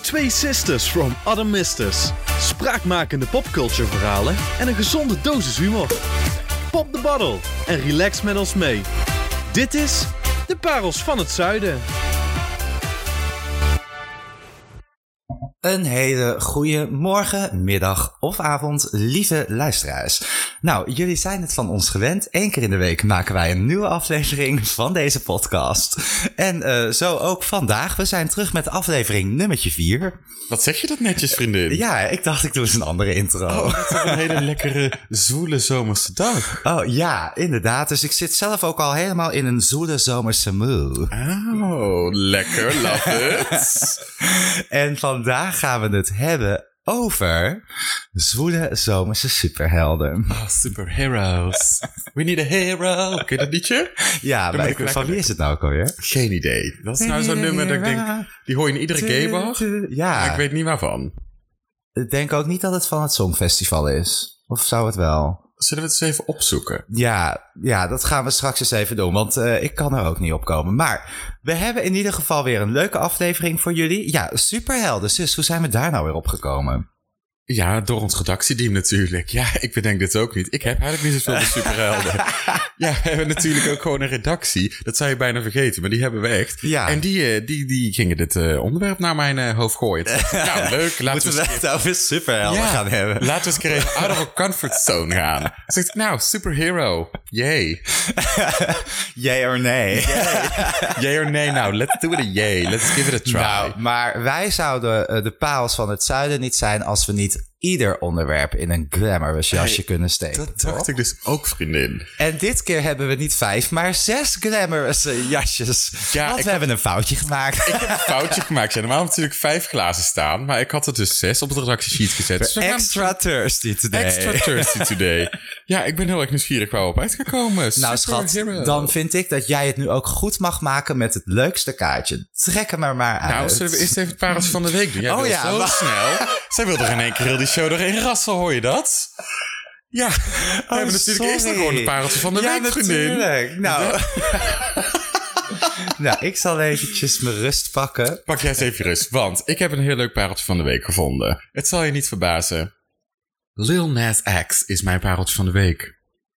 Twee sisters from other misters. Spraakmakende popculture verhalen en een gezonde dosis humor. Pop de bottle en relax met ons mee. Dit is De Parels van het Zuiden. Een hele goede morgen, middag of avond, lieve luisteraars. Nou, jullie zijn het van ons gewend. Eén keer in de week maken wij een nieuwe aflevering van deze podcast. En eh, zo ook vandaag. We zijn terug met aflevering nummertje 4. Wat zeg je dat netjes, vriendin? Ja, ik dacht ik doe eens een andere intro. Het is een hele lekkere, zoele zomerse dag. Oh ja, inderdaad. Dus ik zit zelf ook al helemaal in een zoele zomerse moe. Oh, lekker, love it. En vandaag gaan we het hebben over zwoele zomerse superhelden. Ah, superheroes. We need a hero. Ken je dat liedje? Ja, maar moet ik, ik van wie is het nou ook alweer? Geen idee. Dat is nou zo'n nummer dat ik denk, die hoor je in iedere gaybar. Maar Ja, ik ik weet niet waarvan. denk ook niet dat het van het Songfestival is. Of zou het wel? Zullen we het eens even opzoeken? Ja, ja, dat gaan we straks eens even doen, want eh, ik kan er ook niet op komen. Maar we hebben in ieder geval weer een leuke aflevering voor jullie. Ja, superhelden. Zus, hoe zijn we daar nou weer opgekomen? Ja, door ons redactieteam natuurlijk. Ja, ik bedenk dit ook niet. Ik heb eigenlijk niet zoveel met superhelden. ja, we hebben natuurlijk ook gewoon een redactie. Dat zou je bijna vergeten, maar die hebben we echt. Ja. En die, eh, die, die gingen dit eh, onderwerp naar mijn eh, hoofd gooien. Toen dacht ik, Nou, leuk. Laten Moeten we we eens het over superhelden Ja. gaan hebben? Laten we eens een keer even out of our comfort zone gaan. Zegt nou, superhero. Yay. Jee of nee? Yay or nee nou. Let's do it a yay. Let's give it a try. Nou, maar wij zouden eh, de paals van het zuiden niet zijn als we niet ieder onderwerp in een glamorous jasje kunnen steken. dat dacht ik dus ook, vriendin. En dit keer hebben we niet vijf, maar zes glamorous eh, jasjes. Ja, Want ik- we hebben een foutje gemaakt. Ik heb een foutje gemaakt. Ja, normaal had natuurlijk vijf glazen staan, maar ik had er dus zes op het redactiesheet gezet. Dus we gaan- Extra thirsty today. Extra thirsty today. Ja, ik ben heel erg nieuwsgierig waar we op uit gaan komen. Nou schat, Superhero. dan vind ik dat jij het nu ook goed mag maken met het leukste kaartje. Trek hem er maar uit. Nou, zullen we eerst even het parels van de week doen? Jij Oh wil ja, zo wa- snel. Zij wil er in één keer heel die show doorheen rassen, hoor je dat? Ja, we hebben natuurlijk eerst nog Oh, sorry. gewoon de pareltje van de ja, week, vriendin. natuurlijk. Nou. nou, ik zal eventjes mijn rust pakken. Pak jij eens even rust, want ik heb een heel leuk pareltje van de week gevonden. Het zal je niet verbazen. Lil Nas X is mijn pareltje van de week.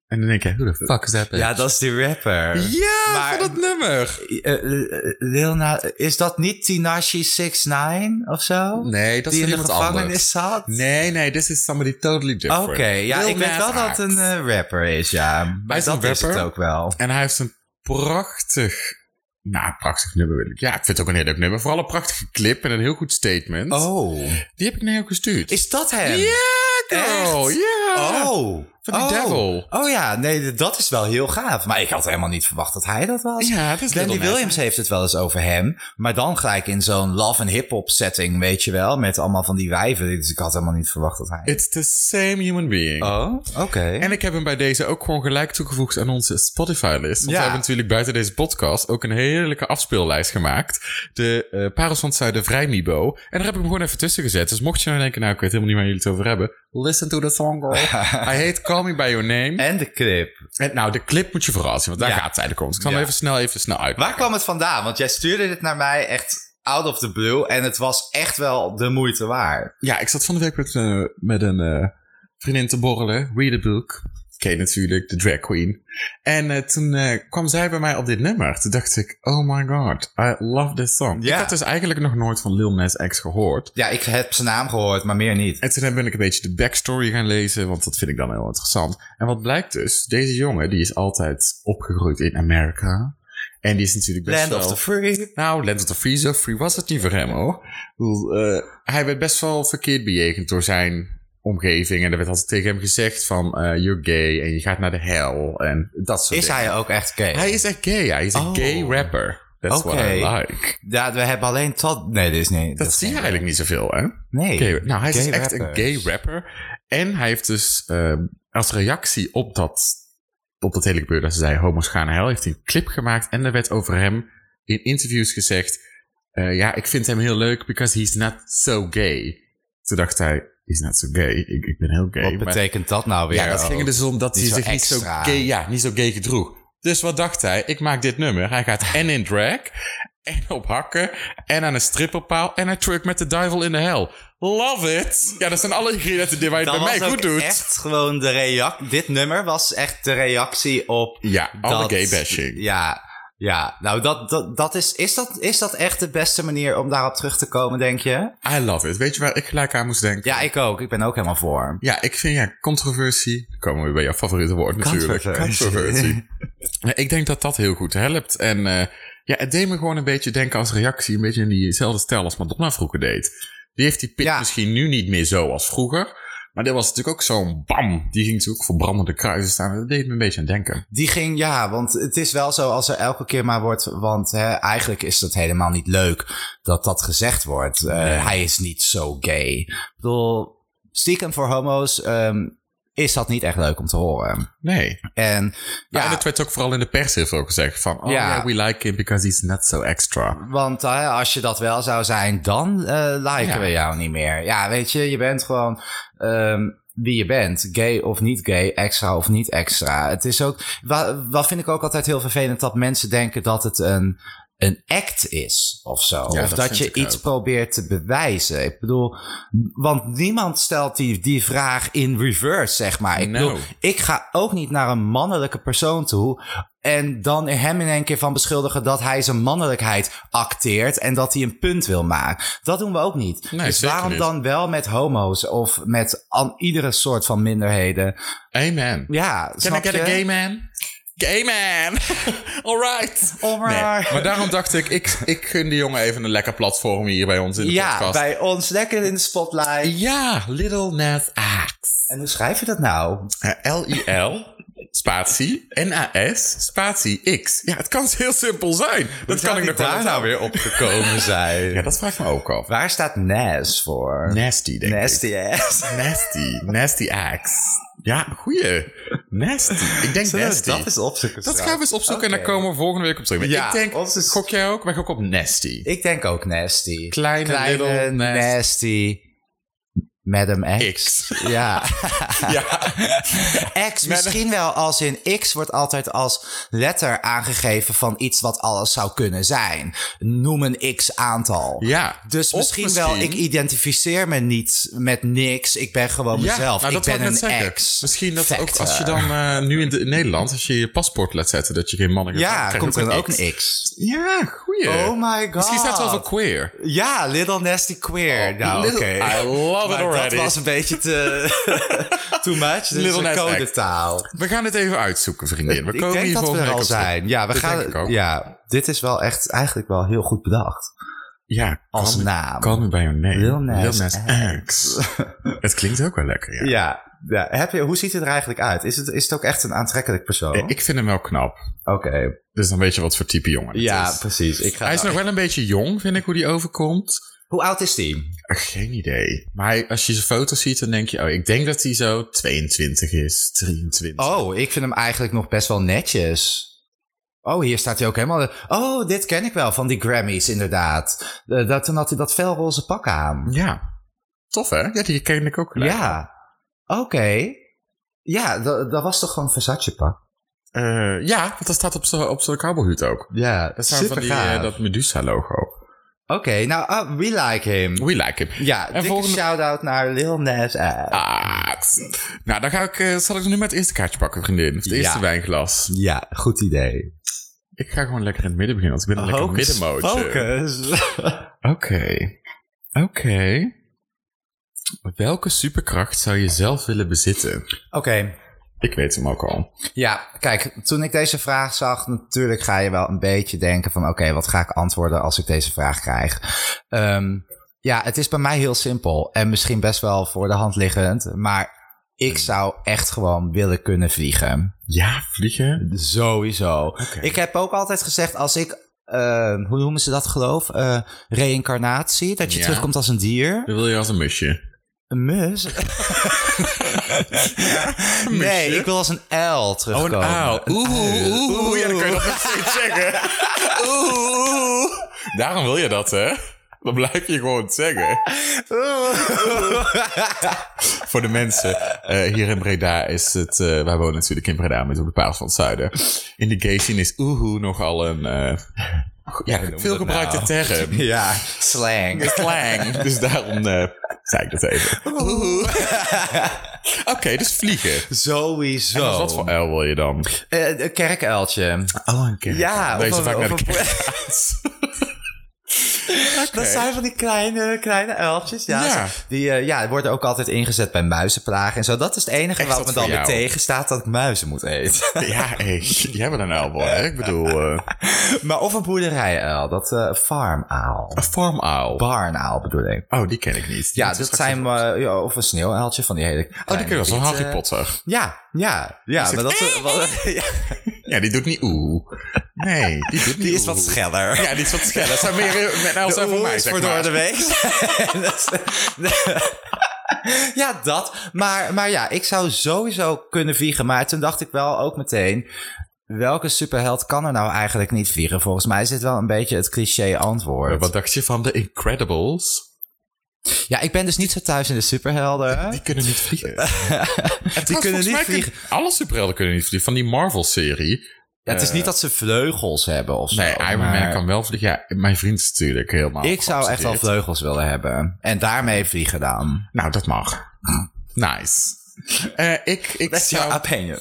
En dan denk je, hoe de fuck is dat? Ja, dat is die rapper. ja Maar- van dat nummer. Eh, eh, Lil Na- is dat niet Tinashi 69 of zo? Nee, dat die is in de iemand gevangenis anders. zat? Nee, nee, this is somebody totally Oké, different. ja, Lil ik weet Nas wel dat X. het een eh, rapper is, ja. Maar Hij is dat een is het rapper. ook wel. En hij heeft een prachtig... Nou, prachtig nummer wil ik. Ja, ik vind het ook een heel leuk nummer. Vooral een prachtige clip en een heel goed statement. Oh, Die heb ik naar jou gestuurd. is dat hem? Ja, girl, Echt? ja. Oh. Van die oh. devil. Oh ja, nee, d- dat is wel heel gaaf. Maar ik had helemaal niet verwacht dat hij dat was. Ja, dat is Wendy Lil Nas. Williams heeft het wel eens over hem. Maar dan gelijk in zo'n love and hip-hop setting, weet je wel. Met allemaal van die wijven. Dus ik had helemaal niet verwacht dat hij... It's the same human being. Oh, oké. En ik heb hem bij deze ook gewoon gelijk toegevoegd aan onze Spotify-list. Want Ja. we hebben natuurlijk buiten deze podcast ook een heerlijke afspeellijst gemaakt. De eh Parels van het Zuiden Vrij Mibo. En daar heb ik hem gewoon even tussen gezet. Dus mocht je nou denken, nou ik weet helemaal niet waar jullie het over hebben. Listen to the song, girl. Hij heet Call Me By Your Name. En de clip. En nou, de clip moet je vooral zien, want daar Ja. gaat het eigenlijk om. Dus ik zal Ja. hem even snel, even snel uit. Waar kwam het vandaan? Want jij stuurde dit naar mij echt out of the blue. En het was echt wel de moeite waard. Ja, ik zat van de week met, eh, met een eh, vriendin te borrelen. Read a book. Ken je natuurlijk, de drag queen. En eh, toen eh, kwam zij bij mij op dit nummer. Toen dacht ik, oh my god, I love this song. Ja. Ik had dus eigenlijk nog nooit van Lil Nas X gehoord. Ja, ik heb zijn naam gehoord, maar meer niet. En toen ben ik een beetje de backstory gaan lezen, want dat vind ik dan heel interessant. En wat blijkt dus, deze jongen die is altijd opgegroeid in Amerika. En die is natuurlijk best Land wel... of the Free. Nou, Lent of the Free, zo free was het niet voor hem hoor. Ik bedoel, eh, hij werd best wel verkeerd bejegend door zijn omgeving. En er werd altijd tegen hem gezegd van, eh, you're gay en je gaat naar de hel en dat soort Is dingen. hij ook echt gay? Hij is echt gay, ja. Hij is Oh. een gay rapper. That's Oké. what I like. Ja, we hebben alleen Todd. Nee, dit is niet. Dat, zie je eigenlijk niet zoveel, hè? Nee. Gay- nou, hij is Gay dus echt rappers. een gay rapper. En hij heeft dus eh, als reactie op dat, op dat hele gebeuren, dat ze zei homo's gaan naar hel, heeft hij een clip gemaakt. En er werd over hem in interviews gezegd, eh, ja, ik vind hem heel leuk, because he's not so gay. Toen dacht hij, he's not so gay, ik, ik ben heel gay. Wat maar- betekent dat nou weer? ja, dat ging er dus om dat Niet hij zo zich niet zo, extra. gay, ja, niet zo gay gedroeg. Dus wat dacht hij? Ik maak dit nummer. Hij gaat en in drag en op hakken en aan een stripperpaal en een truck met de duivel in de hel. Love it! Ja, dat zijn alle ingrediënten die wij bij mij ook goed doet. echt gewoon de reactie. Dit nummer was echt de reactie op Ja, alle dat- gay bashing. Ja, ja. nou dat, dat, dat is, is dat, is dat echt de beste manier om daarop terug te komen, denk je? I love it. Weet je waar ik gelijk aan moest denken? Ja, ik ook. Ik ben ook helemaal voor. Ja, ik vind ja, controversie. Dan komen we weer bij jouw favoriete woord natuurlijk. Controversie. Ja, ik denk dat dat heel goed helpt. En eh, ja, het deed me gewoon een beetje denken als reactie. Een beetje in diezelfde stijl als Madonna vroeger deed. Die heeft die pit Ja. misschien nu niet meer zo als vroeger. Maar dit was natuurlijk ook zo'n bam. Die ging natuurlijk ook voor brandende kruisen staan. Dat deed me een beetje aan denken. Die ging, ja, want het is wel zo als er elke keer maar wordt, want hè, eigenlijk is dat helemaal niet leuk dat dat gezegd wordt. Eh, Hij is niet zo gay. Ik bedoel, stiekem voor homo's ehm, is dat niet echt leuk om te horen. Nee. En Ja. ja, En dat werd ook vooral in de pers heel veel gezegd. Van, oh ja, Ja. we like him because he's not so extra. Want eh, als je dat wel zou zijn, dan eh, liken Ja. we jou niet meer. Ja, weet je, je bent gewoon ehm, wie je bent. Gay of niet gay, extra of niet extra. Het is ook, wa- wat vind ik ook altijd heel vervelend, dat mensen denken dat het een, een act is of zo. Ja, of dat dat, vind je ik iets ook. probeert te bewijzen. Ik bedoel, want niemand stelt die, die vraag in reverse, zeg maar. Ik Nou. bedoel, ik ga ook niet naar een mannelijke persoon toe. En dan hem in één keer van beschuldigen dat hij zijn mannelijkheid acteert. En dat hij een punt wil maken. Dat doen we ook niet. Nee, dus zeker waarom niet. dan wel met homo's of met an- iedere soort van minderheden? Amen. Ja, Can I snap get je? a gay man? Gay man! All right! Om Nee, maar- maar daarom dacht ik, ik, ik gun die jongen even een lekker platform hier bij ons in de ja, podcast. bij ons lekker in de spotlight. Ja, Little Nas X. En hoe schrijf je dat nou? Eh, L-I-L, spatie, N-A-S, spatie X. Ja, het kan heel simpel zijn. dat kan nou ik nog wel eens- weer opgekomen zijn? Ja, dat vraag ik me ook af. Waar staat Nas voor? Nasty, denk ik. Nasty ass. Nasty. Nasty Axe. Ja, goeie. Nasty. Ik denk Zullen we nasty. Dat is opzoeken. Dat straks? gaan we eens opzoeken en Oké. daar komen we volgende week op terug. Maar Ja, ik denk, ons is- gok jij ook? Wij gokken op nasty. Ik denk ook nasty. Kleine, little, nasty. nasty. Madam X. X. Ja. Ja. X misschien wel als in X wordt altijd als letter aangegeven van iets wat alles zou kunnen zijn. Noem een X aantal. ja. Dus Of misschien, wel, ik identificeer me niet met niks. Ik ben gewoon Ja, mezelf. nou, ik dat wou ben een net zeggen. X. Misschien dat ook factor. als je dan eh, nu in, de, in Nederland, als je je paspoort laat zetten, dat je geen mannen gaat Ja, krijg je komt er dan ook X. een X. Ja, goeie. Oh my god. Misschien staat het wel voor queer. Ja, Little Nasty Queer. nou, oké. Oh, Little- I love it Maar already. dat was een beetje te too much. Dit is Little een Nas Act. codetaal. We gaan het even uitzoeken, vriendin. We ik komen denk hier dat we volgende er week al op terug. zijn. Ja, we Dat gaan, denk ik ook. ja, dit is wel echt eigenlijk wel heel goed bedacht. Ja, Als call me- naam. Call me by your name. Lil Nas X. het klinkt ook wel lekker, ja. Ja. ja. Heb je, hoe ziet het er eigenlijk uit? Is het, is het ook echt een aantrekkelijk persoon? Eh, Ik vind hem wel knap. Oké. Dus dan weet je wat voor type jongen het Ja, is. precies. Ik ga Hij is nog wel een beetje jong, vind ik, hoe die overkomt. Hoe oud is die? Geen idee. Maar hij- als je zijn foto's ziet, dan denk je... Oh, ik denk dat hij zo 22 is, 23. Oh, ik vind hem eigenlijk nog best wel netjes. Oh, hier staat hij ook helemaal. Oh, dit ken ik wel van die Grammys, inderdaad. Eh, dat, toen had hij dat felroze pak aan. Ja. Tof, hè? Ja, die ken ik ook gelijk. Ja. Oké. Ja, dat, dat was toch gewoon Versace pak? Eh, ja, want dat staat op zijn op zijn cowboyhoed ook. Ja, Dat staat super van die, gaaf. eh, dat Medusa-logo. Oké, nou, ah, we like him. We like him. Ja, dikke volgende- shout-out naar Lil Nas X. Ah, tss. nou, dan ga ik, eh, zal ik nu met het eerste kaartje pakken, vriendin. Of het eerste Ja. wijnglas. Ja, goed idee. Ik ga gewoon lekker in het midden beginnen, want ik ben een lekker Hocus middenmootje. Focus. Oké. Oké. Welke superkracht zou je zelf willen bezitten? Oké, Ik weet hem ook al. Ja, kijk, toen ik deze vraag zag, natuurlijk ga je wel een beetje denken van... oké, wat ga ik antwoorden als ik deze vraag krijg? Ehm, ja, het is bij mij heel simpel en misschien best wel voor de hand liggend... maar ik Hmm. zou echt gewoon willen kunnen vliegen. Ja, vliegen. Sowieso. Ik heb ook altijd gezegd, als ik... ehm, hoe noemen ze dat geloof? Eh, reïncarnatie, dat je Ja. terugkomt als een dier. Dan wil je als een musje. Een mus? nee, ik wil als een uil Oh, terugkomen. een uil. Oeh, oeh, oeh, oeh. Ja, dan kun je dat nog steeds zeggen. Oeh, oeh. Daarom wil je dat, hè? Dan blijf je gewoon het zeggen. Voor de mensen eh, hier in Breda is het... eh, wij wonen natuurlijk in Breda, met op de paars van het zuiden. In de gay scene is oeh, oeh nogal een... eh, Ja, noemen veel dat gebruikte nou? term. Ja, slang. Slang. Dus daarom eh, zei ik dat even. Oké, dus vliegen. Sowieso. En als Dus wat voor uil wil je dan? Eh, Oh. een kerkuiltje. Oh, een keer. Ja, of Deze een- vaak of naar de een- kerkraad. Dat zijn van die kleine, kleine uiltjes. Ja, Ja. Zo- die eh, ja, worden ook altijd ingezet bij muizenplagen en zo. Dat is het enige Echt wat wat me dan voor weer jou. tegenstaat dat ik muizen moet eten. Ja, hey, jij bent een uil, hè? Ik bedoel, eh, maar of een boerderijuil, dat eh farmaal. een farmuil. Barnaal bedoel ik. Oh, die ken ik niet. Die Ja, moet ik dat straks zijn, eh, ja, of een sneeuwuiltje van die hele even- Oh, die ken ik wel. Zo'n witte- Harry Potter. Ja, ja, ja. zit- maar dat, is- wat- ja, Ja, die doet niet oeh. Nee, die doet niet die is wat oeh. scheller. Ja, die is wat schel. Dat zijn meer met als De voor oeh mij, is zeg voor maar. door de week. ja, dat. Maar, maar ja, ik zou sowieso kunnen vliegen. Maar toen dacht ik wel ook meteen... Welke superheld kan er nou eigenlijk niet vliegen? Volgens mij is dit wel een beetje het cliché antwoord. Eh, Wat dacht je van de Incredibles? Ja, ik ben dus niet zo thuis in de superhelden. Die kunnen niet vliegen. Nou, Die kunnen niet vliegen. Alle superhelden kunnen niet vliegen. Van die Marvel-serie. Ja, het is niet dat ze vleugels hebben of zo. Eh. Nee, Iron Man maar kan wel vliegen. Ja, mijn vriend is natuurlijk helemaal Ik zou echt wel geobsedeerd. vleugels willen hebben. En daarmee vliegen dan. Nou, dat mag. Nice. Eh, ik, ik, That's your zou, opinion.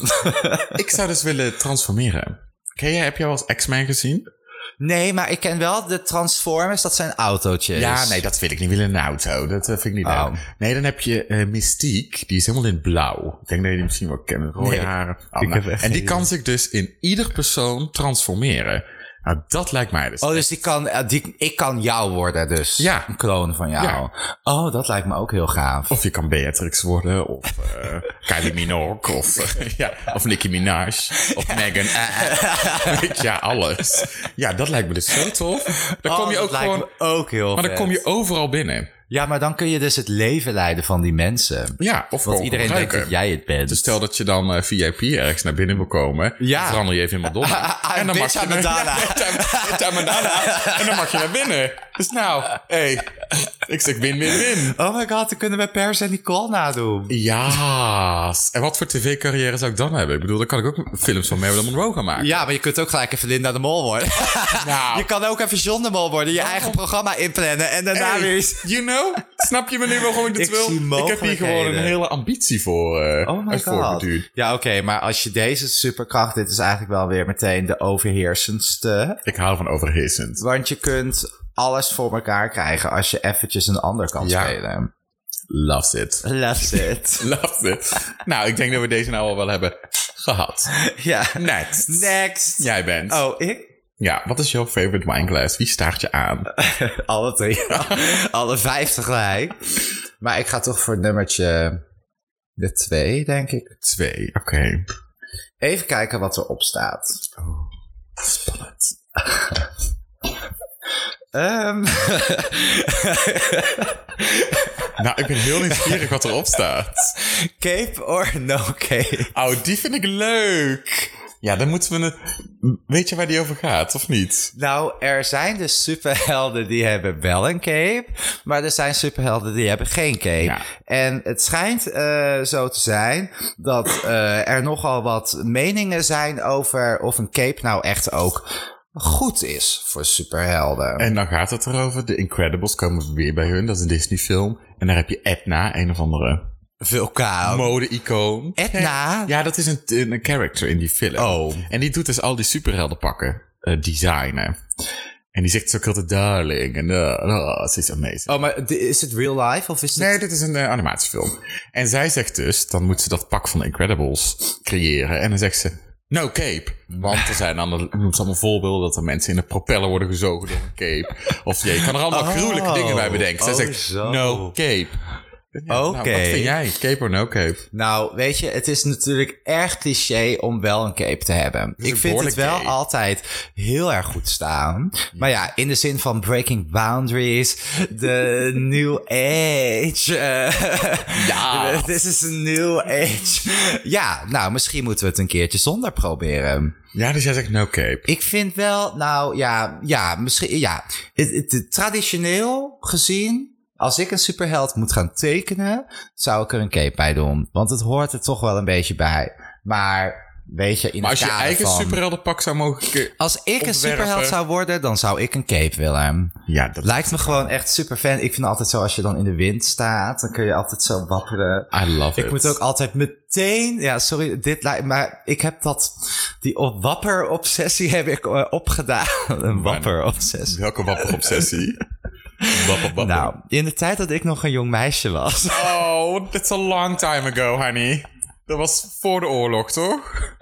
ik zou dus willen transformeren. Ken jij, heb jij wel eens X-Men gezien? Nee, maar ik ken wel de Transformers. Dat zijn autootjes. Ja, nee, dat wil ik niet. Wil in een auto. Dat eh, vind ik niet Oh. leuk. Nee, dan heb je eh, Mystiek. Die is helemaal in het blauw. Ik denk dat je die misschien wel kent. met Rode Nee, haren. Oh, ik nou, heb echt en die geen kan zich dus in ieder persoon transformeren. Nou, dat lijkt mij dus. Oh, dus die kan, eh, die, ik kan jou worden dus. Ja. Een kloon van jou. Ja. Oh, dat lijkt me ook heel gaaf. Of je kan Beatrix worden, of eh, Kylie Minogue, of, eh, ja, of Nicki Minaj, of Megan. ja, alles. Ja, dat lijkt me dus zo tof. Dan Oh, kom je dat ook lijkt gewoon... me ook heel Maar dan vet. kom je overal binnen. Ja, maar dan kun je dus het leven leiden van die mensen. Ja, of Want gewoon iedereen denkt gebruiken. dat jij het bent. Dus stel dat je dan eh, VIP ergens naar binnen wil komen. Ja. dan Verander je even in Madonna. Ah, dan bitch, I'm Madonna. Ja, I'm- I'm Madonna. En dan mag je naar binnen. Dus nou, hey, ik zeg win, win, win. Oh my god, dan kunnen we Pers en Nicole nadoen. Ja. En wat voor tv-carrière zou ik dan hebben? Ik bedoel, dan kan ik ook films van Marilyn Monroe gaan maken. Ja, maar je kunt ook gelijk even Linda de Mol worden. Nou, Oh. je kan ook even John de Mol worden. Je eigen programma inplannen en daarna hey, weer iets- you know? Snap je me nu waarom ik dit Ik wil? zie Ik heb hier gewoon een mogelijkheden. hele ambitie voor. eh Oh my eh, god. voorbeduurd. Ja, oké, maar als je deze superkracht... Dit is eigenlijk wel weer meteen de overheersendste. Ik hou van overheersend. Want je kunt alles voor elkaar krijgen als je eventjes een ander kan Ja. spelen. Loves it. That's it. Loves it. nou, ik denk dat we deze nou al wel hebben gehad. ja. Next. Next. Jij bent. Oh, ik? Ja, wat is jouw favorite wineglass? Wie staart je aan? Alle drie. Alle vijf tegelijk. Maar ik ga toch voor nummertje de twee, denk ik. Twee. Oké. Even kijken wat erop staat. Spannend. Ehm, Nou, ik ben heel nieuwsgierig wat erop staat. cape or no cape? Oh, die vind ik leuk. Ja, dan moeten we het. Weet je waar die over gaat, of niet? Nou, er zijn dus superhelden die hebben wel een cape, maar er zijn superhelden die hebben geen cape. Ja. En het schijnt eh, zo te zijn dat eh, er nogal wat meningen zijn over of een cape nou echt ook goed is voor superhelden. En dan gaat het erover. De Incredibles komen weer bij hun. Dat is een Disney-film. En daar heb je Edna, een of andere Vulkaan. mode-icoon. Edna? Ja, dat is een, een character in die film. Oh. En die doet dus al die superheldenpakken eh, designen. En die zegt zo ook altijd darling. En eh, oh, ze is amazing. Oh, maar di- is het real life of is het... Nee, dit is een eh, animatiefilm. En zij zegt dus, dan moet ze dat pak van de Incredibles creëren. En dan zegt ze, no cape. Want er zijn dan, noemt ze allemaal voorbeelden dat er mensen in een propeller worden gezogen door een cape. Of je kan er allemaal Oh. gruwelijke dingen bij bedenken. Zij Oh, zegt, zo. no cape. Ja, nou, Oké. wat vind jij? Cape or no cape? Nou, weet je, het is natuurlijk erg cliché om wel een cape te hebben. is Ik vind een het behoorlijk wel cape. altijd heel erg goed staan. Maar ja, in de zin van breaking boundaries, de new age. eh, Ja. This is a new age. Ja, nou, misschien moeten we het een keertje zonder proberen. Ja, dus jij zegt no cape. Ik vind wel, nou ja, ja, misschien, ja. Het, het- het- traditioneel gezien, als ik een superheld moet gaan tekenen, zou ik er een cape bij doen. Want het hoort er toch wel een beetje bij. Maar Weet je, in Maar het als je kader eigen van- superheldenpak zou mogen... ke- Als ik een ontwerpen- superheld zou worden, dan zou ik een cape willen hebben. Ja, dat... Lijkt me gewoon echt super fan. Ik vind altijd zo, als je dan in de wind staat, dan kun je altijd zo wapperen. I love Ik it. moet ook altijd meteen. Ja, sorry, dit lijkt. Maar ik heb dat. Die op- wapper-obsessie heb ik eh, opgedaan. Een wapper-obsessie. Welke wapperobsessie? wapper, wapper. Nou, in de tijd dat ik nog een jong meisje was. Oh, that's a long time ago, honey. Dat was voor de oorlog, toch?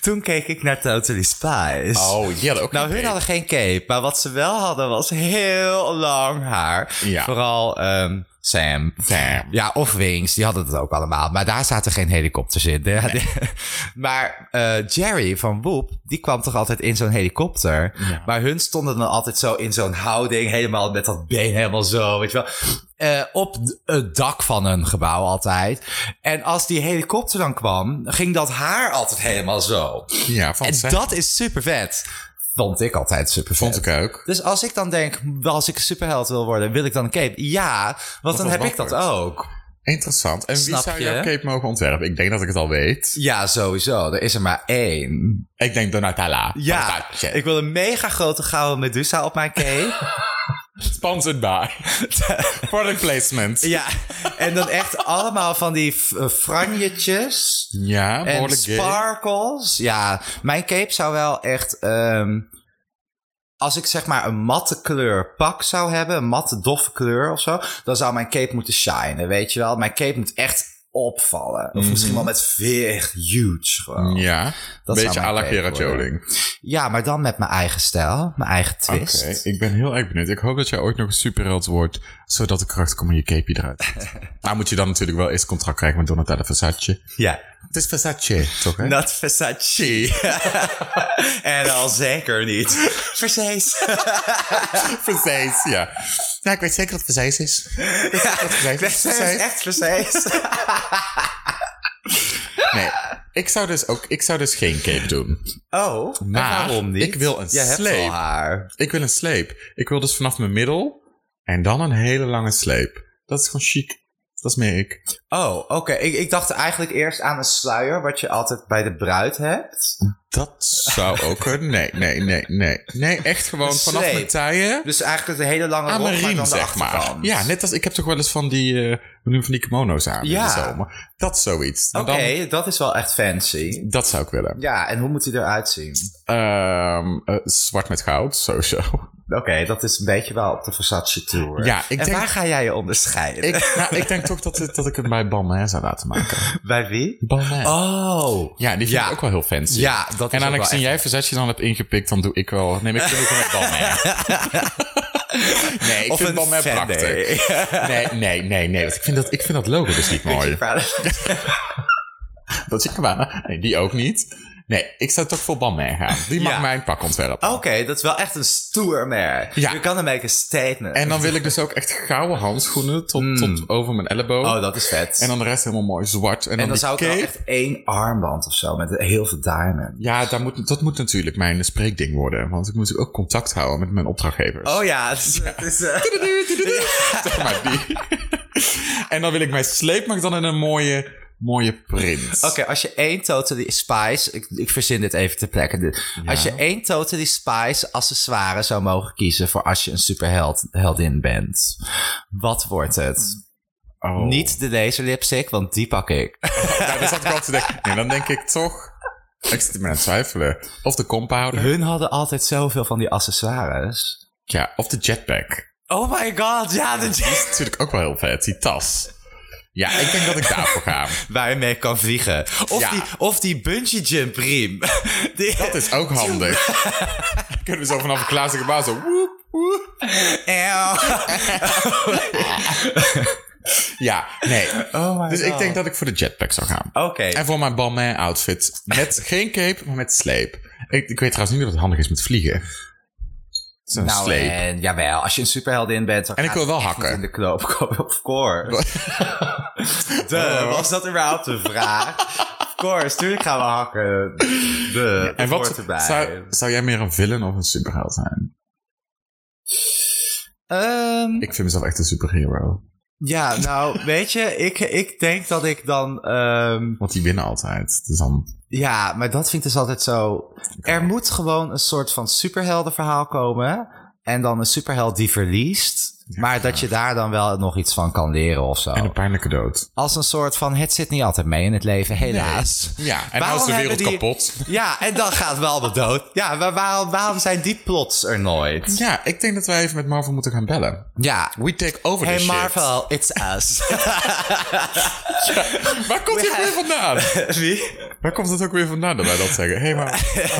Toen keek ik naar Totally Spies. Oh, ja, ook Nou, hun hadden geen cape, maar wat ze wel hadden was heel lang haar. Ja. Vooral ehm, Sam. Sam. Ja, of Wings, die hadden het ook allemaal. Maar daar zaten geen helikopters in. Ja, die- maar eh, Jerry van Woep, die kwam toch altijd in zo'n helikopter. Maar hun stonden dan altijd zo in zo'n houding, helemaal met dat been helemaal zo, weet je wel. Eh, op d- het dak van een gebouw altijd. En als die helikopter dan kwam, ging dat haar altijd helemaal zo. Ja, van En Sam. dat is super vet. Vond ik altijd super vet. Vond ik ook. Dus als ik dan denk, als ik een superheld wil worden, wil ik dan een cape? Ja, want dan was heb ik dat wakker. ook. Interessant. En wie Snap zou je? jouw cape mogen ontwerpen? Ik denk dat ik het al weet. Ja, sowieso. Er is er maar één. Ik denk Donatella. Ja, ik wil een mega grote gouden Medusa op mijn cape. Sponsored by. Product placement. Ja, ja, en dan echt allemaal van die f- eh, franjetjes. En behoorlijk gay. sparkles. Ja, mijn cape zou wel echt. ehm, als ik zeg maar een matte kleur pak zou hebben, een matte doffe kleur of zo, dan zou mijn cape moeten shinen, weet je wel? Mijn cape moet echt opvallen. Of misschien wel met veel echt huge gewoon. Ja. Mhm. Ja, een zou beetje mijn à la cape Kera worden. Joling. maar dan met mijn eigen stijl, mijn eigen Oké, twist. ik ben heel erg benieuwd. Ik hoop dat jij ooit nog een superheld wordt, zodat ik kracht kom en je capeje eruit ziet. nou moet je dan natuurlijk wel eerst contract krijgen met Donatella Versace. Ja, Het is Versace, toch hè? not Versace. en al zeker niet. Versace. Versace, ja. Nou, ik weet zeker dat het Versace is. Ja, dat is echt Versace. Nee, ik zou dus ook, ik zou dus geen cape doen. Oh, en Maar waarom niet? ik wil een Jij hebt sleep. wel haar. Ik wil een sleep. Ik wil dus vanaf mijn middel en dan een hele lange sleep. Dat is gewoon chic. Dat is meer ik. Oh, oké. Ik, ik dacht eigenlijk eerst aan een sluier, wat je altijd bij de bruid hebt. Dat zou ook een... Nee, nee, nee, nee. Nee, echt gewoon Een vanaf sleep. mijn taille Dus eigenlijk een hele lange aan rok, mijn maar riem, dan de zeg maar. achterkant. Ja, net als... Ik heb toch wel eens van die... eh, we noemen van die kimono's aan in Ja. de zomer. Dat is zoiets. Maar Oké, dan- dat is wel echt fancy. dat zou ik willen. Ja, en hoe moet hij eruit zien? Ehm, eh, zwart met goud, sowieso. Oké, dat is een beetje wel op de Versace tour. Ja, ik en denk- waar ga jij je onderscheiden? Ik, nou, ik denk toch dat, het- dat ik het bij Balmain zou laten maken. Bij wie? Balmain. Oh. Ja, die vind Ja. ik ook wel heel fancy. Ja, dat is ook En wel aangezien echt- jij Versace dan hebt ingepikt, dan doe ik wel... Neem ik genoeg met Balmain. nee, ik Of vind een Balmain Fendi. prachtig. Nee, nee, nee, nee. want ik, vind dat, ik vind dat logo dus niet mooi. Dat zie ik maar. Nee, die ook niet. Nee, ik zou toch voor Balmain gaan. Die mag Ja. Oh. mijn pak ontwerpen. Oké, dat is wel echt een stoer merk. Ja. Je kan ermee een statement. En dan wil ik dus ook echt gouden handschoenen tot, tot over mijn elleboog. Hmm. oh, dat is vet. En dan de rest helemaal mooi zwart. En dan, En dan die zou ik wel cape. echt één armband of zo met heel veel diamond. Ja, daar moet, dat moet natuurlijk mijn spreekding worden. Want ik moet ook contact houden met mijn opdrachtgevers. Oh ja, het is, het is, eh, Zeg maar die. en dan wil ik mijn sleepmak dan in een mooie, mooie print. Oké, als je één Totally Spice... Ik, ik verzin dit even ter plekke. Dit- Als je één Totally Spice accessoire zou mogen kiezen... voor als je een superheld heldin bent. Wat wordt het? Oh. Niet de laser lipstick, want die pak ik. Ja, daar zat ik al te denken. Nee, dan denk ik toch... Ik zit er maar aan het twijfelen. Of de compounder. Hun hadden altijd zoveel van die accessoires. Ja, of de jetpack. Oh my god, ja, de Die is natuurlijk ook wel heel vet, die tas. Ja, ik denk dat ik daarvoor ga. waar je mee kan vliegen. Of, Ja. die, of die bungee jump riem. Die- Dat is ook handig. Kunnen we zo vanaf een glazen gebouw zo... woep, woep. Eeuw. Ja, nee. Oh my Dus ik god. denk dat ik voor de jetpack zou gaan. Oké. En voor mijn Balmain outfit. Met geen cape, maar met sleep. Ik, ik weet trouwens niet of het handig is met vliegen. Zo'n Nou, sleep. en jawel, als je een superheldin bent... Dan En ik gaat wil wel het echt hakken. niet in de knoop komen, of course. Oh, Duh, was dat überhaupt de vraag? Of course, tuurlijk gaan we hakken. Duh, en dat hoort wat erbij. zou, zou jij meer een villain of een superheld zijn? Ehm, Ik vind mezelf echt een superhero. Ja, nou, weet je, ik, ik denk dat ik dan... ehm, Want die winnen altijd. Dus dan... ja, maar dat vind ik dus altijd zo... Er moet gewoon een soort van superheldenverhaal komen. En dan een superheld die verliest. Maar dat je daar dan wel nog iets van kan leren of zo. En een pijnlijke dood. Als een soort van, het zit niet altijd mee in het leven, helaas. Ja, en Waarom dan is de wereld hebben die- kapot. Ja, en dan gaat Waldo dood. Ja, maar waarom, waarom zijn die plots er nooit? Ja, ik denk dat wij even met Marvel moeten gaan bellen. Ja. We take over Hey this Marvel, it's us. shit. Waar komt dit We weer vandaan? Wie? Waar komt het ook weer vandaan dat wij dat zeggen? Hey, maar...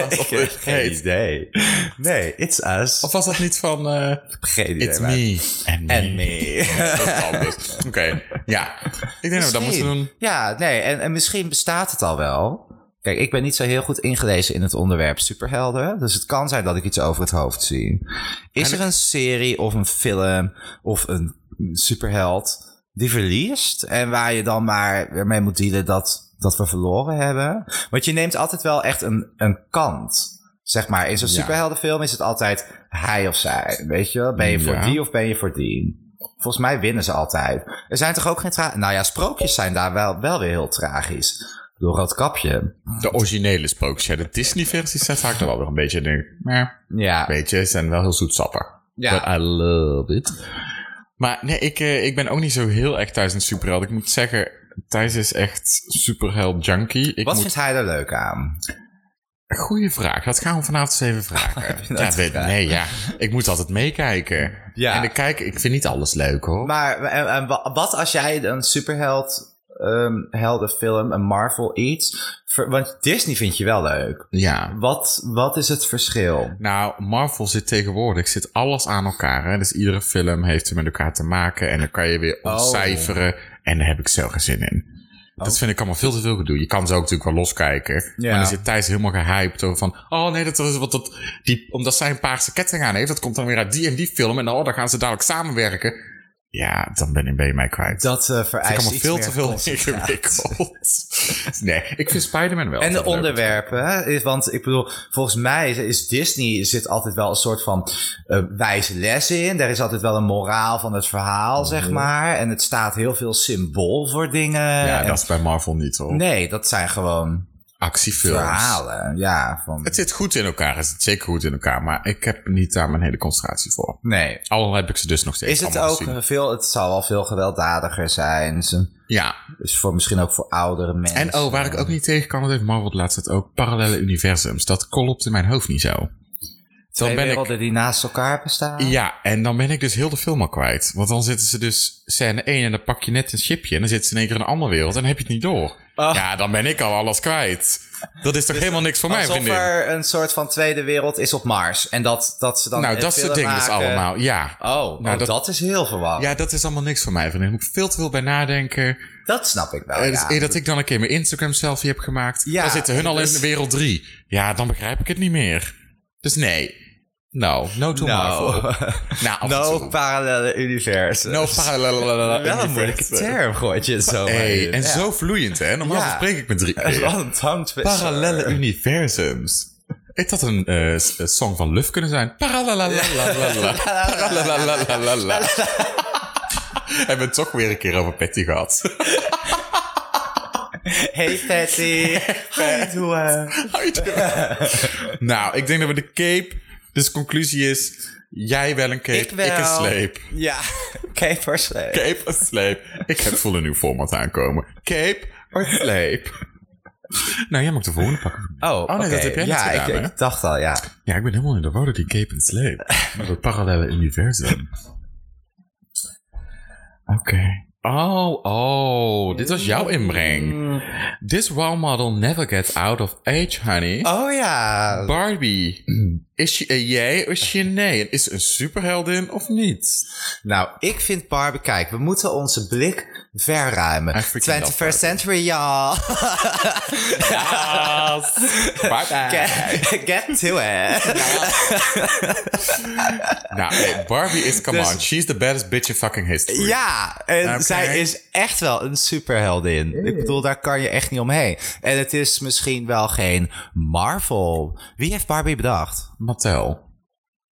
Of, Ik heb geen hey, idee. Nee, it's us. of was dat niet van... eh, geen idee. it's waar- me. En En me. Dat is anders. Oké, ja. Ik denk dat we dat moeten Misschien. doen. Ja, nee, en, en misschien bestaat het al wel. Kijk, ik ben niet zo heel goed ingelezen in het onderwerp superhelden. Dus het kan zijn dat ik iets over het hoofd zie. Is er een serie of een film of een superheld die verliest? En waar je dan maar weer mee moet dealen dat, dat we verloren hebben? Want je neemt altijd wel echt een, een kant. Zeg maar, in zo'n Ja. superheldenfilm is het altijd hij of zij. Weet je wel? Ben je voor Ja. die of ben je voor die? Volgens mij winnen ze altijd. Er zijn toch ook geen tra. Nou ja, sprookjes zijn daar wel, wel weer heel tragisch. Door Roodkapje. De originele sprookjes. Ja, de Disney-versies zijn vaak dan wel weer een beetje... Denk, maar Ja. weet je, ze zijn wel heel zoetsappig. Ja. But I love it. Maar nee, ik, eh, ik ben ook niet zo heel erg thuis in het superheld. Ik moet zeggen, Thijs is echt superheld junkie. Ik Wat moet... vindt hij er leuk aan? Goeie vraag. Dat gaan we vanavond eens even vragen. dat ja, weet, gevraagd? nee, ja. Ik moet altijd meekijken. Ja. En ik kijk, ik vind niet alles leuk hoor. Maar en, en wa- wat als jij een superheld, ehm, heldenfilm, een Marvel iets. ver- want Disney vind je wel leuk. ja. Wat, wat is het verschil? Nou, Marvel zit tegenwoordig, zit alles aan elkaar. Hè? Dus iedere film heeft er met elkaar te maken. En dan kan je Oh. weer ontcijferen. En daar heb ik zo geen zin in. Dat vind ik allemaal veel te veel gedoe. Je kan ze ook natuurlijk wel loskijken. Oh. Ja. Maar dan zit Thijs helemaal gehyped over van... Oh nee, dat is wat dat... Die, omdat zij een paarse ketting aan heeft, dat komt dan weer uit die en die film. En oh, dan gaan ze dadelijk samenwerken. Ja, dan ben ik- ben je mij kwijt. Dat eh vereist Ik kan me iets veel meer te veel concentratie. ingewikkeld. Nee, ik vind Spider-Man wel. En de altijd leuk. onderwerpen, hè, is- want ik bedoel, volgens mij is Disney zit altijd wel een soort van eh, wijze les in. Er is altijd wel een moraal van het verhaal, Mhm. zeg maar. En het staat heel veel symbool voor dingen. Ja, En- dat is bij Marvel niet hoor. Nee, dat zijn gewoon Actiefilms. verhalen. Ja, van, Het zit goed in elkaar. Het zit zeker goed in elkaar. Maar ik heb niet daar mijn hele concentratie voor. nee. Al heb ik ze dus nog steeds Is het allemaal ook eh, gezien. veel, het zal wel veel gewelddadiger zijn. Ze- Ja. Dus voor, misschien ook voor oudere mensen. En oh, waar ik ook niet tegen kan, dat heeft Marvel de laatste tijd ook. Parallele universums. Dat klopt in mijn hoofd niet zo. Dan Twee ben ik werelden die naast elkaar bestaan. Ja, en dan ben ik dus heel de film al kwijt. Want dan zitten ze dus scène 1 en dan pak je net een chipje. En dan zitten ze in één keer in een andere wereld en dan heb je het niet door. Oh. Ja, dan ben ik al alles kwijt. Dat is toch helemaal niks voor mij, Dus Alsof vriendin? er een soort van tweede wereld is op Mars. En dat, dat ze dan. Nou, een dat soort film dingen dus maken. allemaal. Ja. Oh, Nou, oh, dat- dat, is heel verwarrend. Ja, dat is allemaal niks voor mij, vriendin. Daar moet ik veel te veel bij nadenken. Dat snap ik wel. Eh, dus ja. eer dat ik dan een keer mijn Instagram-selfie heb gemaakt, Ja, dan zitten hun al dus- in wereld 3. Ja, dan begrijp ik het niet meer. Dus nee. No, no to Nou, Marvel. Nou, af en no toe. Nou, parallele universum. No parallel. wel een moeilijke term, gooit je het zo. maar Hey, in. en Ja. zo vloeiend, hè? Normaal Ja. spreek ik met drie Wat keer. een tongtwister. Parallelle universums. Heeft dat een eh, s- eh, song van Luf kunnen zijn? Parallelalalalala. Parallelalalalala. Hebben we het toch weer een keer over Patty gehad. Hey Patty. Hi, doe. How you doing? nou, ik denk dat we de cape... Dus conclusie is... Jij wel een cape, Ik wel. een sleep. Ja, cape or sleep. Cape of sleep. Ik heb voel een nieuw format aankomen. Cape or sleep. nou, jij mag de volgende pakken. Oh, nee, dat oké. heb jij net ja, gedaan, ik, hè? ik dacht al, ja. Ja, ik ben helemaal in de war door die Cape and Slave. Maar dat parallele universum. Oké. Oh, oh, dit was jouw inbreng. Mm. This role model never gets out of age, honey. Oh ja. Barbie, is je een jij of is je een nee? En Is ze een superheldin of niet? Nou, ik vind Barbie, kijk, we moeten onze blik verruimen. I freaking love 21st century, y'all. Yes! Get, get to it. nou, nee, Barbie is, come on, she's the baddest bitch in fucking history. Dus Ja, en Oké. zij is echt wel een superheldin. Ik bedoel, daar kan je echt niet omheen. En het is misschien wel geen Marvel. Wie heeft Barbie bedacht? Mattel.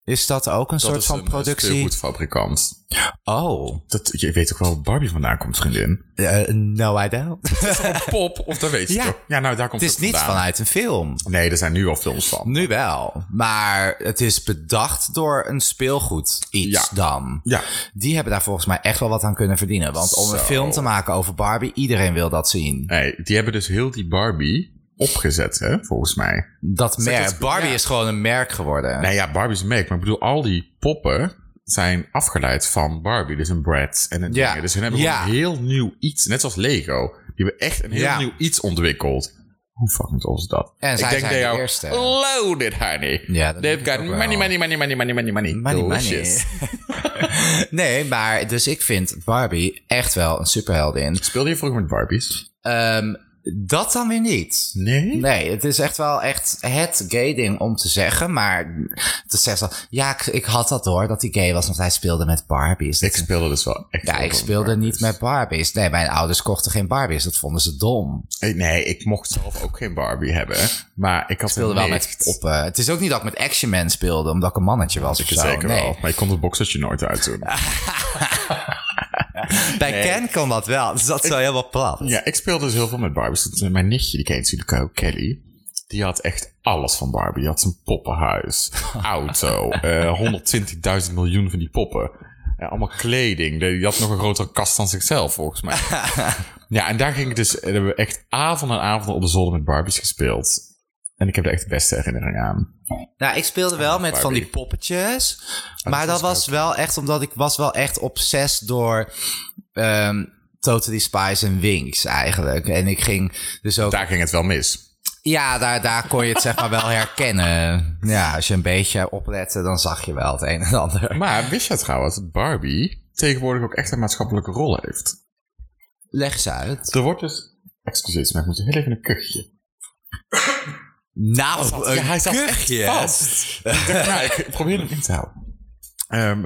Is dat ook een Dat soort is van een eh, productie? speelgoedfabrikant. Oh, Dat, je weet ook wel waar Barbie vandaan komt, vriendin. eh, no I don't. Pop, of dat weet je Ja. toch? Ja, nou, daar komt het is niet vandaan. vanuit een film. Nee, er zijn nu al films van. Nu wel, maar het is bedacht door een speelgoed iets Ja. dan. Ja, Die hebben daar volgens mij echt wel wat aan kunnen verdienen. Want om een Zo. film te maken over Barbie, iedereen wil dat zien. nee, die hebben dus heel die Barbie opgezet, hè, volgens mij. Dat merk. dat- Barbie ja. is gewoon een merk geworden. Nou ja, Barbie is een merk, maar ik bedoel, al die poppen zijn afgeleid van Barbie. Dus een Bratz en een Ja. dingen. Dus hun hebben Ja. gewoon een heel nieuw iets, net zoals Lego. Die hebben echt een heel Ja. nieuw iets ontwikkeld. Hoe fucking tof is dat? En zij zijn de jou, eerste. loaded, honey. Ja, dat They've denk ik got ook wel. money, money, money, money, money, money, money. Money, money. Delicious. nee, maar dus ik vind Barbie echt wel een superheldin. Speelde je vroeger met Barbies? Ehm, dat dan weer niet. Nee? Nee, het is echt wel echt het gay ding om te zeggen. Maar te zeggen, zo, ja, ik, ik had dat door dat hij gay was, want hij speelde met Barbies. Dat Ik is- speelde dus wel echt ja, wel ik met speelde Barbies. niet met Barbies. Nee, mijn ouders kochten geen Barbies. Dat vonden ze dom. Ik Eh, Nee, ik mocht zelf ook geen Barbie hebben. Maar ik had speelde een wel nicht. met poppen. eh, Het is ook niet dat ik met Action Man speelde, omdat ik een mannetje was of zo. Zeker nee. wel. Maar ik kon het boxertje nooit uitdoen. Bij Ken kon dat wel. Dus dat is wel helemaal plat. Ja, ik speelde dus heel veel met Barbies. Dat, eh, Mijn nichtje, die kent natuurlijk ook, Kelly. Die had echt alles van Barbie. Die had zijn poppenhuis, auto, eh 120.000 miljoen van die poppen. Eh, allemaal kleding. De- Die had nog een grotere kast dan zichzelf, volgens mij. ja, en daar ging ik dus... eh, hebben we echt avond en avond op de zolder met Barbies gespeeld. En ik heb er echt de beste herinnering aan. Nou, ik speelde wel Ah, met van die Barbie. poppetjes. maar dat Ah, is was wel echt omdat ik was wel echt obsessed door ehm Totally Spies en Winx eigenlijk. En ik ging dus ook... Daar ging het wel mis. Ja, daar, daar kon je het zeg maar wel herkennen. Ja, als je een beetje oplette, dan zag je wel het een en ander. Maar wist je trouwens dat Barbie tegenwoordig ook echt een maatschappelijke rol heeft? Leg eens uit. Er wordt dus... Excuseer, maar ik moet heel even een kuchje. Nou, een ja, hij zat kuchje. echt vast. ik dacht, nou, ik probeer hem in te houden. Ehm,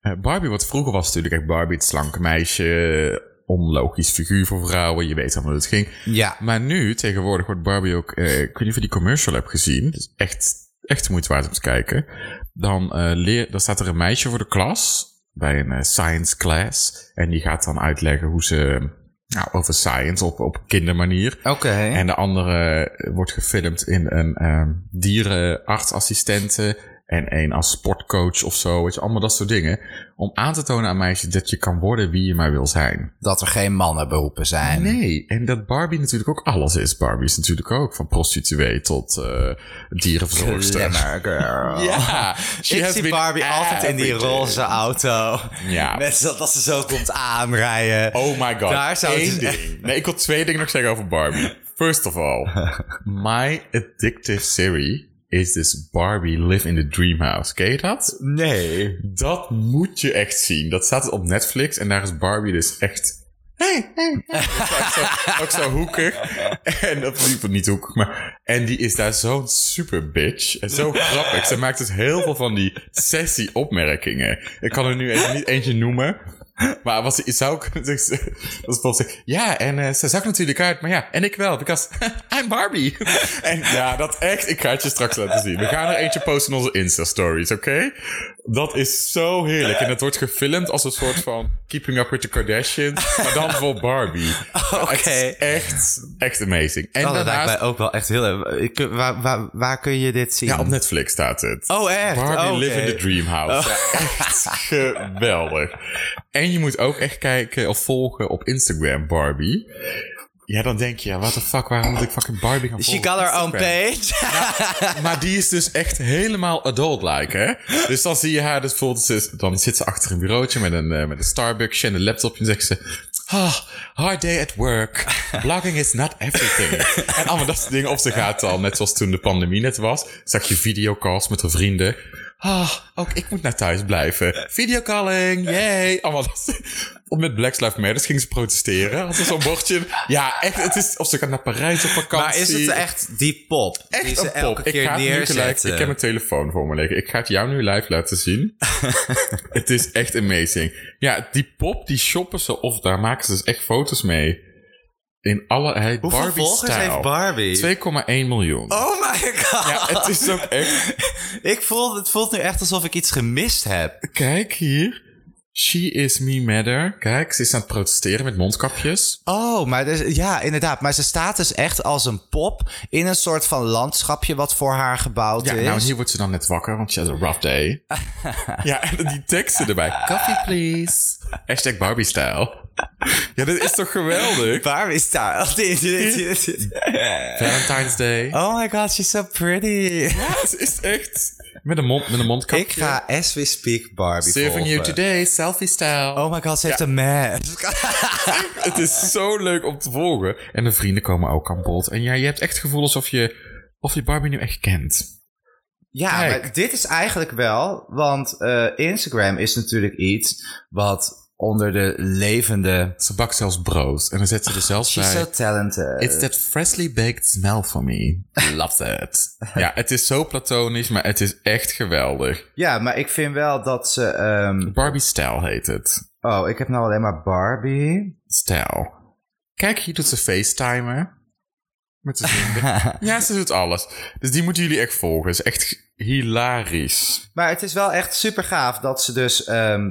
eh, Barbie, wat vroeger was natuurlijk echt Barbie, het slanke meisje, onlogisch figuur voor vrouwen. Je weet allemaal hoe het ging. Ja, Maar nu, tegenwoordig, wordt Barbie ook... eh, ik weet niet of je die commercial hebt gezien. Het is echt, echt de moeite waard om te kijken. Dan, eh, leer, dan staat er een meisje voor de klas, bij een eh, science class. En die gaat dan uitleggen hoe ze... Nou, over science op, op kindermanier. oké. En de andere eh, wordt gefilmd in een ehm dierenartsassistente en een als sportcoach of zo. Weet je, allemaal dat soort dingen. Om aan te tonen aan meisjes dat je kan worden wie je maar wil zijn. Dat er geen mannenberoepen zijn. Nee, en dat Barbie natuurlijk ook alles is. Barbie is natuurlijk ook van prostituee tot eh dierenverzorgster. Glamour girl. Ja, Ik zie Barbie altijd in die roze. roze auto. Ja. Met zo- dat ze zo komt aanrijden. Oh my god. Daar zou het Eén dus- ding. Nee, ik wil twee dingen nog zeggen over Barbie. First of all, my addictive series is this Barbie Live in the Dream House. Ken je dat? Nee. Dat moet je echt zien. Dat staat op Netflix en daar is Barbie dus echt... Hey, hey, hey. Ook zo- Ook zo hoekig. En dat liep niet hoekig, maar... En die is daar zo'n super bitch. En zo grappig. Ze maakt dus heel veel van die sessie opmerkingen. Ik kan er nu even niet eentje noemen. Maar was, ik zou kunnen zeggen... Dat is volgens Ja, en eh, ze zag natuurlijk uit. Maar ja, en ik wel. Because I'm Barbie. en ja, dat echt... Ik ga het je straks laten zien. We gaan er eentje posten in onze Insta-stories, oké? Dat is zo heerlijk. En het wordt gefilmd als een soort van... Keeping Up With The Kardashians. Maar dan voor Barbie. Oké. Het is echt, echt amazing. En Oh, dat lijkt daarnaast... mij ook wel echt heel... Ik, waar, waar, waar kun je dit zien? Ja, op Netflix staat het. Oh, echt? Barbie Oh, oké. Oh. Live in the Dream House. Ja, echt geweldig. En je moet ook echt kijken of volgen op Instagram Barbie. Ja, dan denk je, ja, what the fuck, waarom moet ik fucking Barbie gaan She volgen? got op her own Instagram? page. Maar die is dus echt helemaal adult-like, hè? Dus dan zie je haar dus bijvoorbeeld... ze is- Dan zit ze achter een bureautje met een, eh, met een Starbucksje en een laptopje. En zegt ze... Ah, hard day at work. Blogging is not everything. en allemaal dat soort dingen. Of ze gaat al, net zoals toen de pandemie net was... zag je videocalls met haar vrienden. Ah, ook ik moet naar thuis blijven. Videocalling, yay. Allemaal dat. Of met Black Lives Matter ging ze protesteren. Had ze zo'n bordje. Ja, echt. Het is, of ze gaat naar Parijs op vakantie. Maar is het echt die pop? die Echt ze een pop. elke keer ik ga het nu gelijk. neerzetten? Ik heb mijn telefoon voor me liggen. Ik ga het jou nu live laten zien. het is echt amazing. Ja, die pop, die shoppen ze of daar maken ze dus echt foto's mee. in alle... Hij heeft Hoeveel volgers heeft Barbie-stijl. Barbie? 2,1 miljoen. Oh my god. Ja, het is ook echt... ik voel, het voelt nu echt alsof ik iets gemist heb. Kijk hier. She is me matter. Kijk, ze is aan het protesteren met mondkapjes. Oh, maar dus, ja, inderdaad. Maar ze staat dus echt als een pop in een soort van landschapje wat voor haar gebouwd Ja, is. nou hier wordt ze dan net wakker, want she has a rough day. ja, en dan die teksten erbij. Coffee please. Hashtag Barbie style. Ja, dit is toch geweldig? Barbie style. Valentine's Day. oh my god, she's so pretty. Ja, het is echt... Met een, mond, met een mondkapje. Ik ga as we speak Barbie Saving you volgen. today, selfie style. Oh my god, ze heeft een Dus mask. Het is zo leuk om te volgen. En de vrienden komen ook aan bod. En ja, je hebt echt het gevoel alsof je, of je Barbie nu echt kent. Ja, Kijk. maar dit is eigenlijk wel, want eh, Instagram is natuurlijk iets wat onder de levende. Ze bakt zelfs brood. En dan zet ze er zelfs She's bij... so talented. It's that freshly baked smell for me. Love that. ja, het is zo platonisch, maar het is echt geweldig. Ja, maar ik vind wel dat ze. ehm, Barbie stijl heet het. oh, ik heb nou alleen maar Barbie. Stijl. Kijk, hier doet ze facetimer. Met de vrienden. ja, ze doet alles. Dus die moeten jullie echt volgen. Het is echt hilarisch. Maar het is wel echt super gaaf dat ze dus. ehm,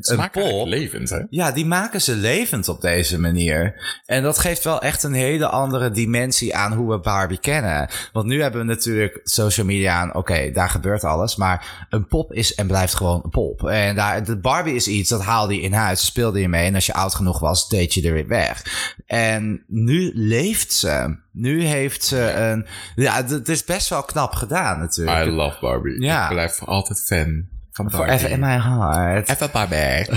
Ze pol. maken eigenlijk levend, hè? ja, die maken ze levend op deze manier. En dat geeft wel echt een hele andere dimensie aan hoe we Barbie kennen. Want nu hebben we natuurlijk social media aan. Oké, daar gebeurt alles. Maar een pop is en blijft gewoon een pop. En daar, de Barbie is iets dat haalde je in huis, speelde je mee. En als je oud genoeg was, deed je er weer weg. En nu leeft ze. Nu heeft ze een. Ja, d- het is best wel knap gedaan natuurlijk. I love Barbie. Ja. Ik blijf voor altijd fan van Barbie. Forever in my heart. Even Barbie.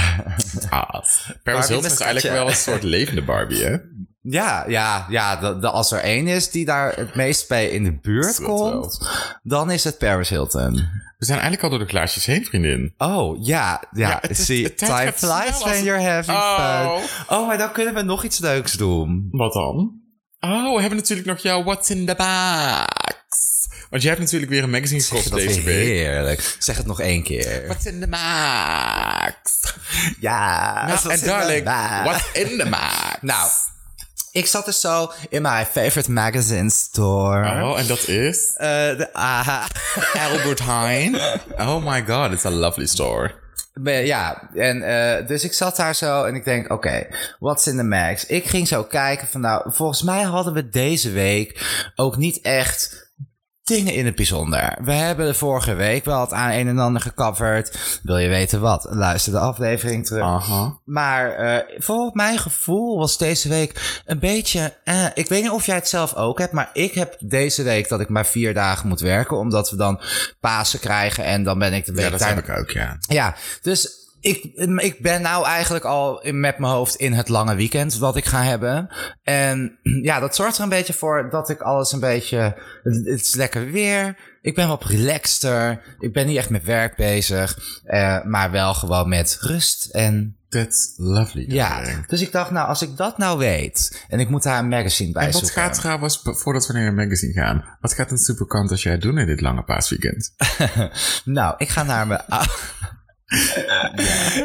ah. Paris Hilton is mascotje. eigenlijk wel een soort levende Barbie, hè? Ja, ja, ja. De, de- als er één is die daar het meest bij in de buurt Dat komt, dan is het Paris Hilton. We zijn eigenlijk al door de glaasjes heen, vriendin. Oh, ja, ja. Ja, het is- See, het tijd time gaat snel flies als when het- you're having Oh. fun. Oh, maar dan kunnen we nog iets leuks doen. Wat dan? Oh, we hebben natuurlijk nog jouw What's in the Box. Want jij hebt natuurlijk weer een magazine Zeg je gekocht dat deze weer week. heerlijk. Zeg het nog één keer. What's in the Box? Ja. Nou, dat en is darling, inderdaad. What's in the Box? Nou, ik zat dus zo in mijn favorite magazine store. Oh, en dat is? Eh, de, aha. Albert Heijn. Oh my god, it's a lovely store. Maar Ja, en eh, dus ik zat daar zo en ik denk, oké, what's in the max? Ik ging zo kijken van, nou, volgens mij hadden we deze week ook niet echt dingen in het bijzonder. We hebben de vorige week wel het aan een en ander gecoverd. Wil je weten wat? Luister de aflevering terug. Ah. Aha. Maar eh volgens mijn gevoel was deze week een beetje. eh, ik weet niet of jij het zelf ook hebt, maar ik heb deze week dat ik maar vier dagen moet werken, omdat we dan Pasen krijgen en dan ben ik de week Ja, dat daarna- heb ik ook, ja. ja, dus ik, ik ben nou eigenlijk al in- met mijn hoofd in het lange weekend wat ik ga hebben. En ja, dat zorgt er een beetje voor dat ik alles een beetje... Het is lekker weer. Ik ben wat relaxter. Ik ben niet echt met werk bezig. eh, maar wel gewoon met rust en... That's lovely. Ja, darling. dus ik dacht, nou, als ik dat nou weet... en ik moet daar een magazine bij En wat zoeken. gaat trouwens, voordat we naar een magazine gaan, wat gaat een superkant als jij doen in dit lange paasweekend? Nou, ik ga naar mijn... ou-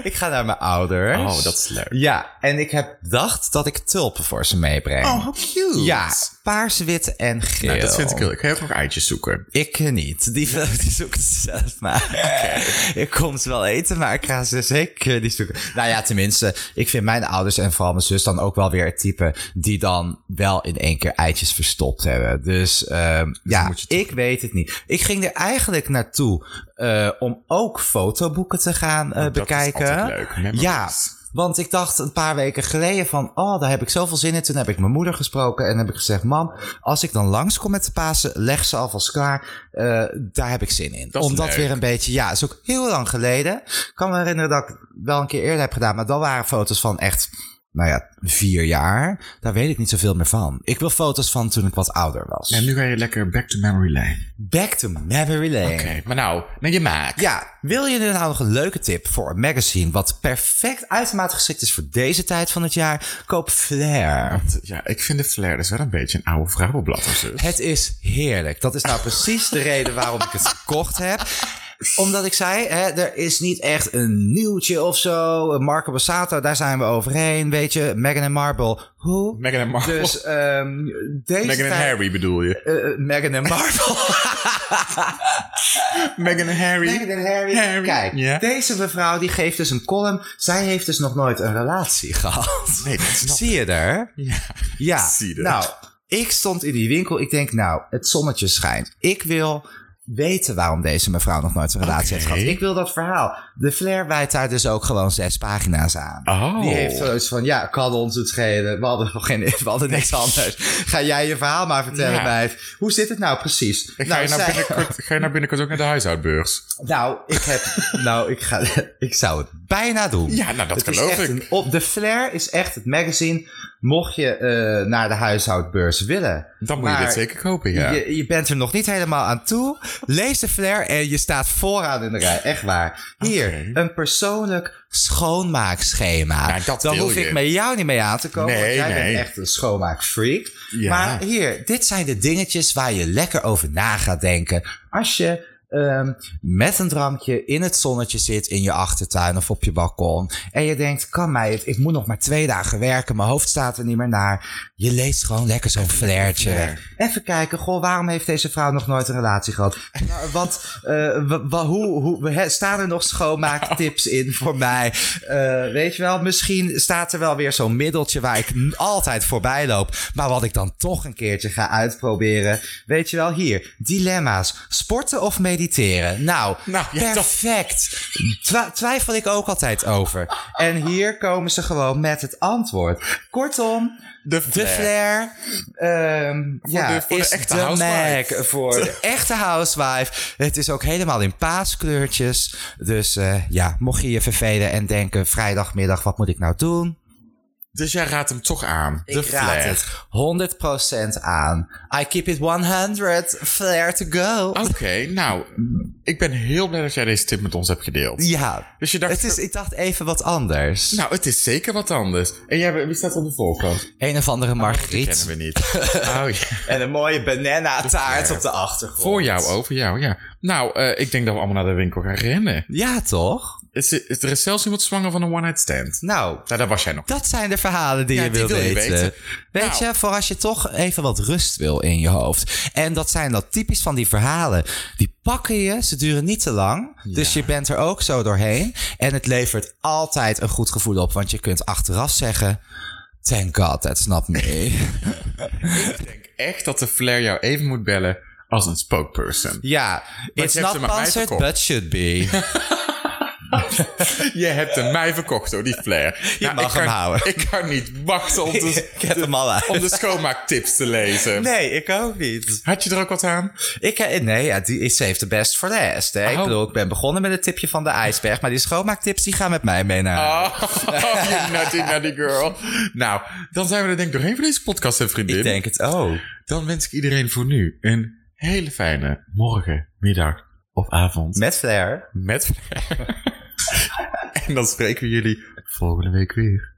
Ik ga naar mijn ouders. Oh, dat is leuk. Ja, en ik heb dacht dat ik tulpen voor ze meebreng. Oh, how cute. ja, Ja. paars, wit en geel. Nou, dat vind ik heel leuk. Ga je ook nog eitjes zoeken? Ik niet. Die, die zoeken ze zelf maar. Ik kom ze wel eten, maar ik ga ze zeker niet zoeken. Nou ja, tenminste, ik vind mijn ouders en vooral mijn zus dan ook wel weer het type die dan wel in één keer eitjes verstopt hebben. Dus ehm, ja, moet je ik weet het niet. Ik ging er eigenlijk naartoe eh, om ook fotoboeken te gaan eh, bekijken. Oh, Dat is altijd leuk. Memories. Ja, want ik dacht een paar weken geleden van, oh, daar heb ik zoveel zin in. Toen heb ik mijn moeder gesproken en heb ik gezegd, mam, als ik dan langskom met de Pasen, leg ze alvast klaar. Eh, daar heb ik zin in. Dat is Omdat leuk. weer een beetje, ja, is ook heel lang geleden. Ik kan me herinneren dat ik het wel een keer eerder heb gedaan, maar dan waren foto's van echt, nou ja, vier jaar. Daar weet ik niet zoveel meer van. Ik wil foto's van toen ik wat ouder was. En nu ga je lekker back to memory lane. Back to memory lane. Oké, maar nou, naar je maak. Ja, wil je nu nou nog een leuke tip voor een magazine wat perfect uitermate geschikt is voor deze tijd van het jaar? Koop Flair. Ja, ik vind de flair dus wel een beetje een oude vrouwenblad dus. of zo. Het is heerlijk. Dat is nou precies de reden waarom ik het gekocht heb. Omdat ik zei, hè, er is niet echt een nieuwtje of zo. Marco Bassato, daar zijn we overheen. Weet je, Meghan en Marble. Hoe? Meghan en Marvel. Dus ehm deze Meghan en tijd- Harry bedoel je? Eh, eh, Meghan en Marble. Meghan en Harry. Meghan en Harry. Harry, Kijk, ja. deze mevrouw die geeft dus een column. Zij heeft dus nog nooit een relatie gehad. Nee, dat snap ik. Zie je daar? Ja. Ja, Zie dat. nou, ik stond in die winkel. Ik denk, nou, het zonnetje schijnt. Ik wil weten waarom deze mevrouw nog nooit een relatie heeft Oké. gehad. Ik wil dat verhaal. De Flair wijdt daar dus ook gewoon zes pagina's aan. Oh. Die heeft zoiets van, ja, kan ons het schelen. We hadden, nog geen, we hadden niks anders. Ga jij je verhaal maar vertellen, Ja. wijf. Hoe zit het nou precies? En Ga, nou, je nou zij- binnenkort, ga je nou binnenkort ook naar de huishoudbeurs? nou, ik heb... nou, ik, ga, ik zou het bijna doen. Ja, nou, dat Het is geloof echt ik. een op, de Flair is echt het magazine. Mocht je eh, naar de huishoudbeurs willen. Dan moet je Maar dit zeker kopen, ja. Je, je bent er nog niet helemaal aan toe. Lees de Flair en je staat vooraan in de rij. Echt waar. Hier, Oké. een persoonlijk schoonmaakschema. Ja, dat Dan wil hoef je. ik met jou niet mee aan te komen. Nee, want jij nee. bent echt een schoonmaakfreak. Ja. Maar hier, dit zijn de dingetjes waar je lekker over na gaat denken. Als je ehm, met een drankje in het zonnetje zit in je achtertuin of op je balkon. En je denkt, kan mij het, ik moet nog maar twee dagen werken. Mijn hoofd staat er niet meer naar. Je leest gewoon lekker zo'n flairtje. Even kijken, goh, waarom heeft deze vrouw nog nooit een relatie gehad? Nou, Wat, eh, wa- wa- hoe, hoe, hè, staan er nog schoonmaaktips in voor mij? Eh, weet je wel, misschien staat er wel weer zo'n middeltje waar ik n- altijd voorbij loop. Maar wat ik dan toch een keertje ga uitproberen. Weet je wel, hier, dilemma's. Sporten of mediteren? Nou, Nou, ja, dat- perfect. Twa- twijfel ik ook altijd over. En hier komen ze gewoon met het antwoord. Kortom, De de flair ehm, ja, de- voor de is de, echte housewife. Mac voor de echte housewife. Het is ook helemaal in paaskleurtjes. Dus eh, ja, mocht je je vervelen en denken... vrijdagmiddag, wat moet ik nou doen? Dus jij raadt hem toch aan. De ik raad flair. het 100% aan. I keep it 100, flair to go. Oké, nou, ik ben heel blij dat jij deze tip met ons hebt gedeeld. Ja, Dus je dacht, het is, ik dacht even wat anders. nou, het is zeker wat anders. En jij, wie staat op de voorkant? Een of andere Oh, Die margriet. kennen we niet. Oh, ja. en een mooie banana taart Flair. op de achtergrond. Voor jou, over jou, ja. Nou, eh, ik denk dat we allemaal naar de winkel gaan rennen. Ja, toch? Is, is, er is zelfs iemand zwanger van een one-night stand. Nou, Nou, daar was jij nog. Dat zijn de verhalen die Ja, je die wil wil je weten. weten. Weet Nou. je, voor als je toch even wat rust wil in je hoofd. En dat zijn dat typisch van die verhalen. Die pakken je, ze duren niet te lang. Dus je bent er ook zo doorheen. En het levert altijd een goed gevoel op. Want je kunt achteraf zeggen... Thank God, that's not me. Ik denk echt dat de flair jou even moet bellen als een spokesperson. ja, it's je hebt not ze maar mij sponsored, verkocht. but should be. Je hebt hem mij verkocht, hoor, die flair. Je mag ik kan, hem houden. Ik kan niet wachten om de, ik heb hem al om uit. de schoonmaaktips te lezen. Nee, ik ook niet. Had je er ook wat aan? Ik, eh, nee, ja, die, ze heeft de best voor de rest. Hè? Ik Oh. bedoel, ik ben begonnen met het tipje van de ijsberg. Maar die schoonmaaktips die gaan met mij mee naar huis. Oh, you nutty, nutty girl. Nou, dan zijn we er denk ik doorheen voor deze podcast, hè, vriendin. Ik denk het ook. Dan wens ik iedereen voor nu een hele fijne morgen, middag of avond. Met flair. Met en dan spreken we jullie volgende week weer.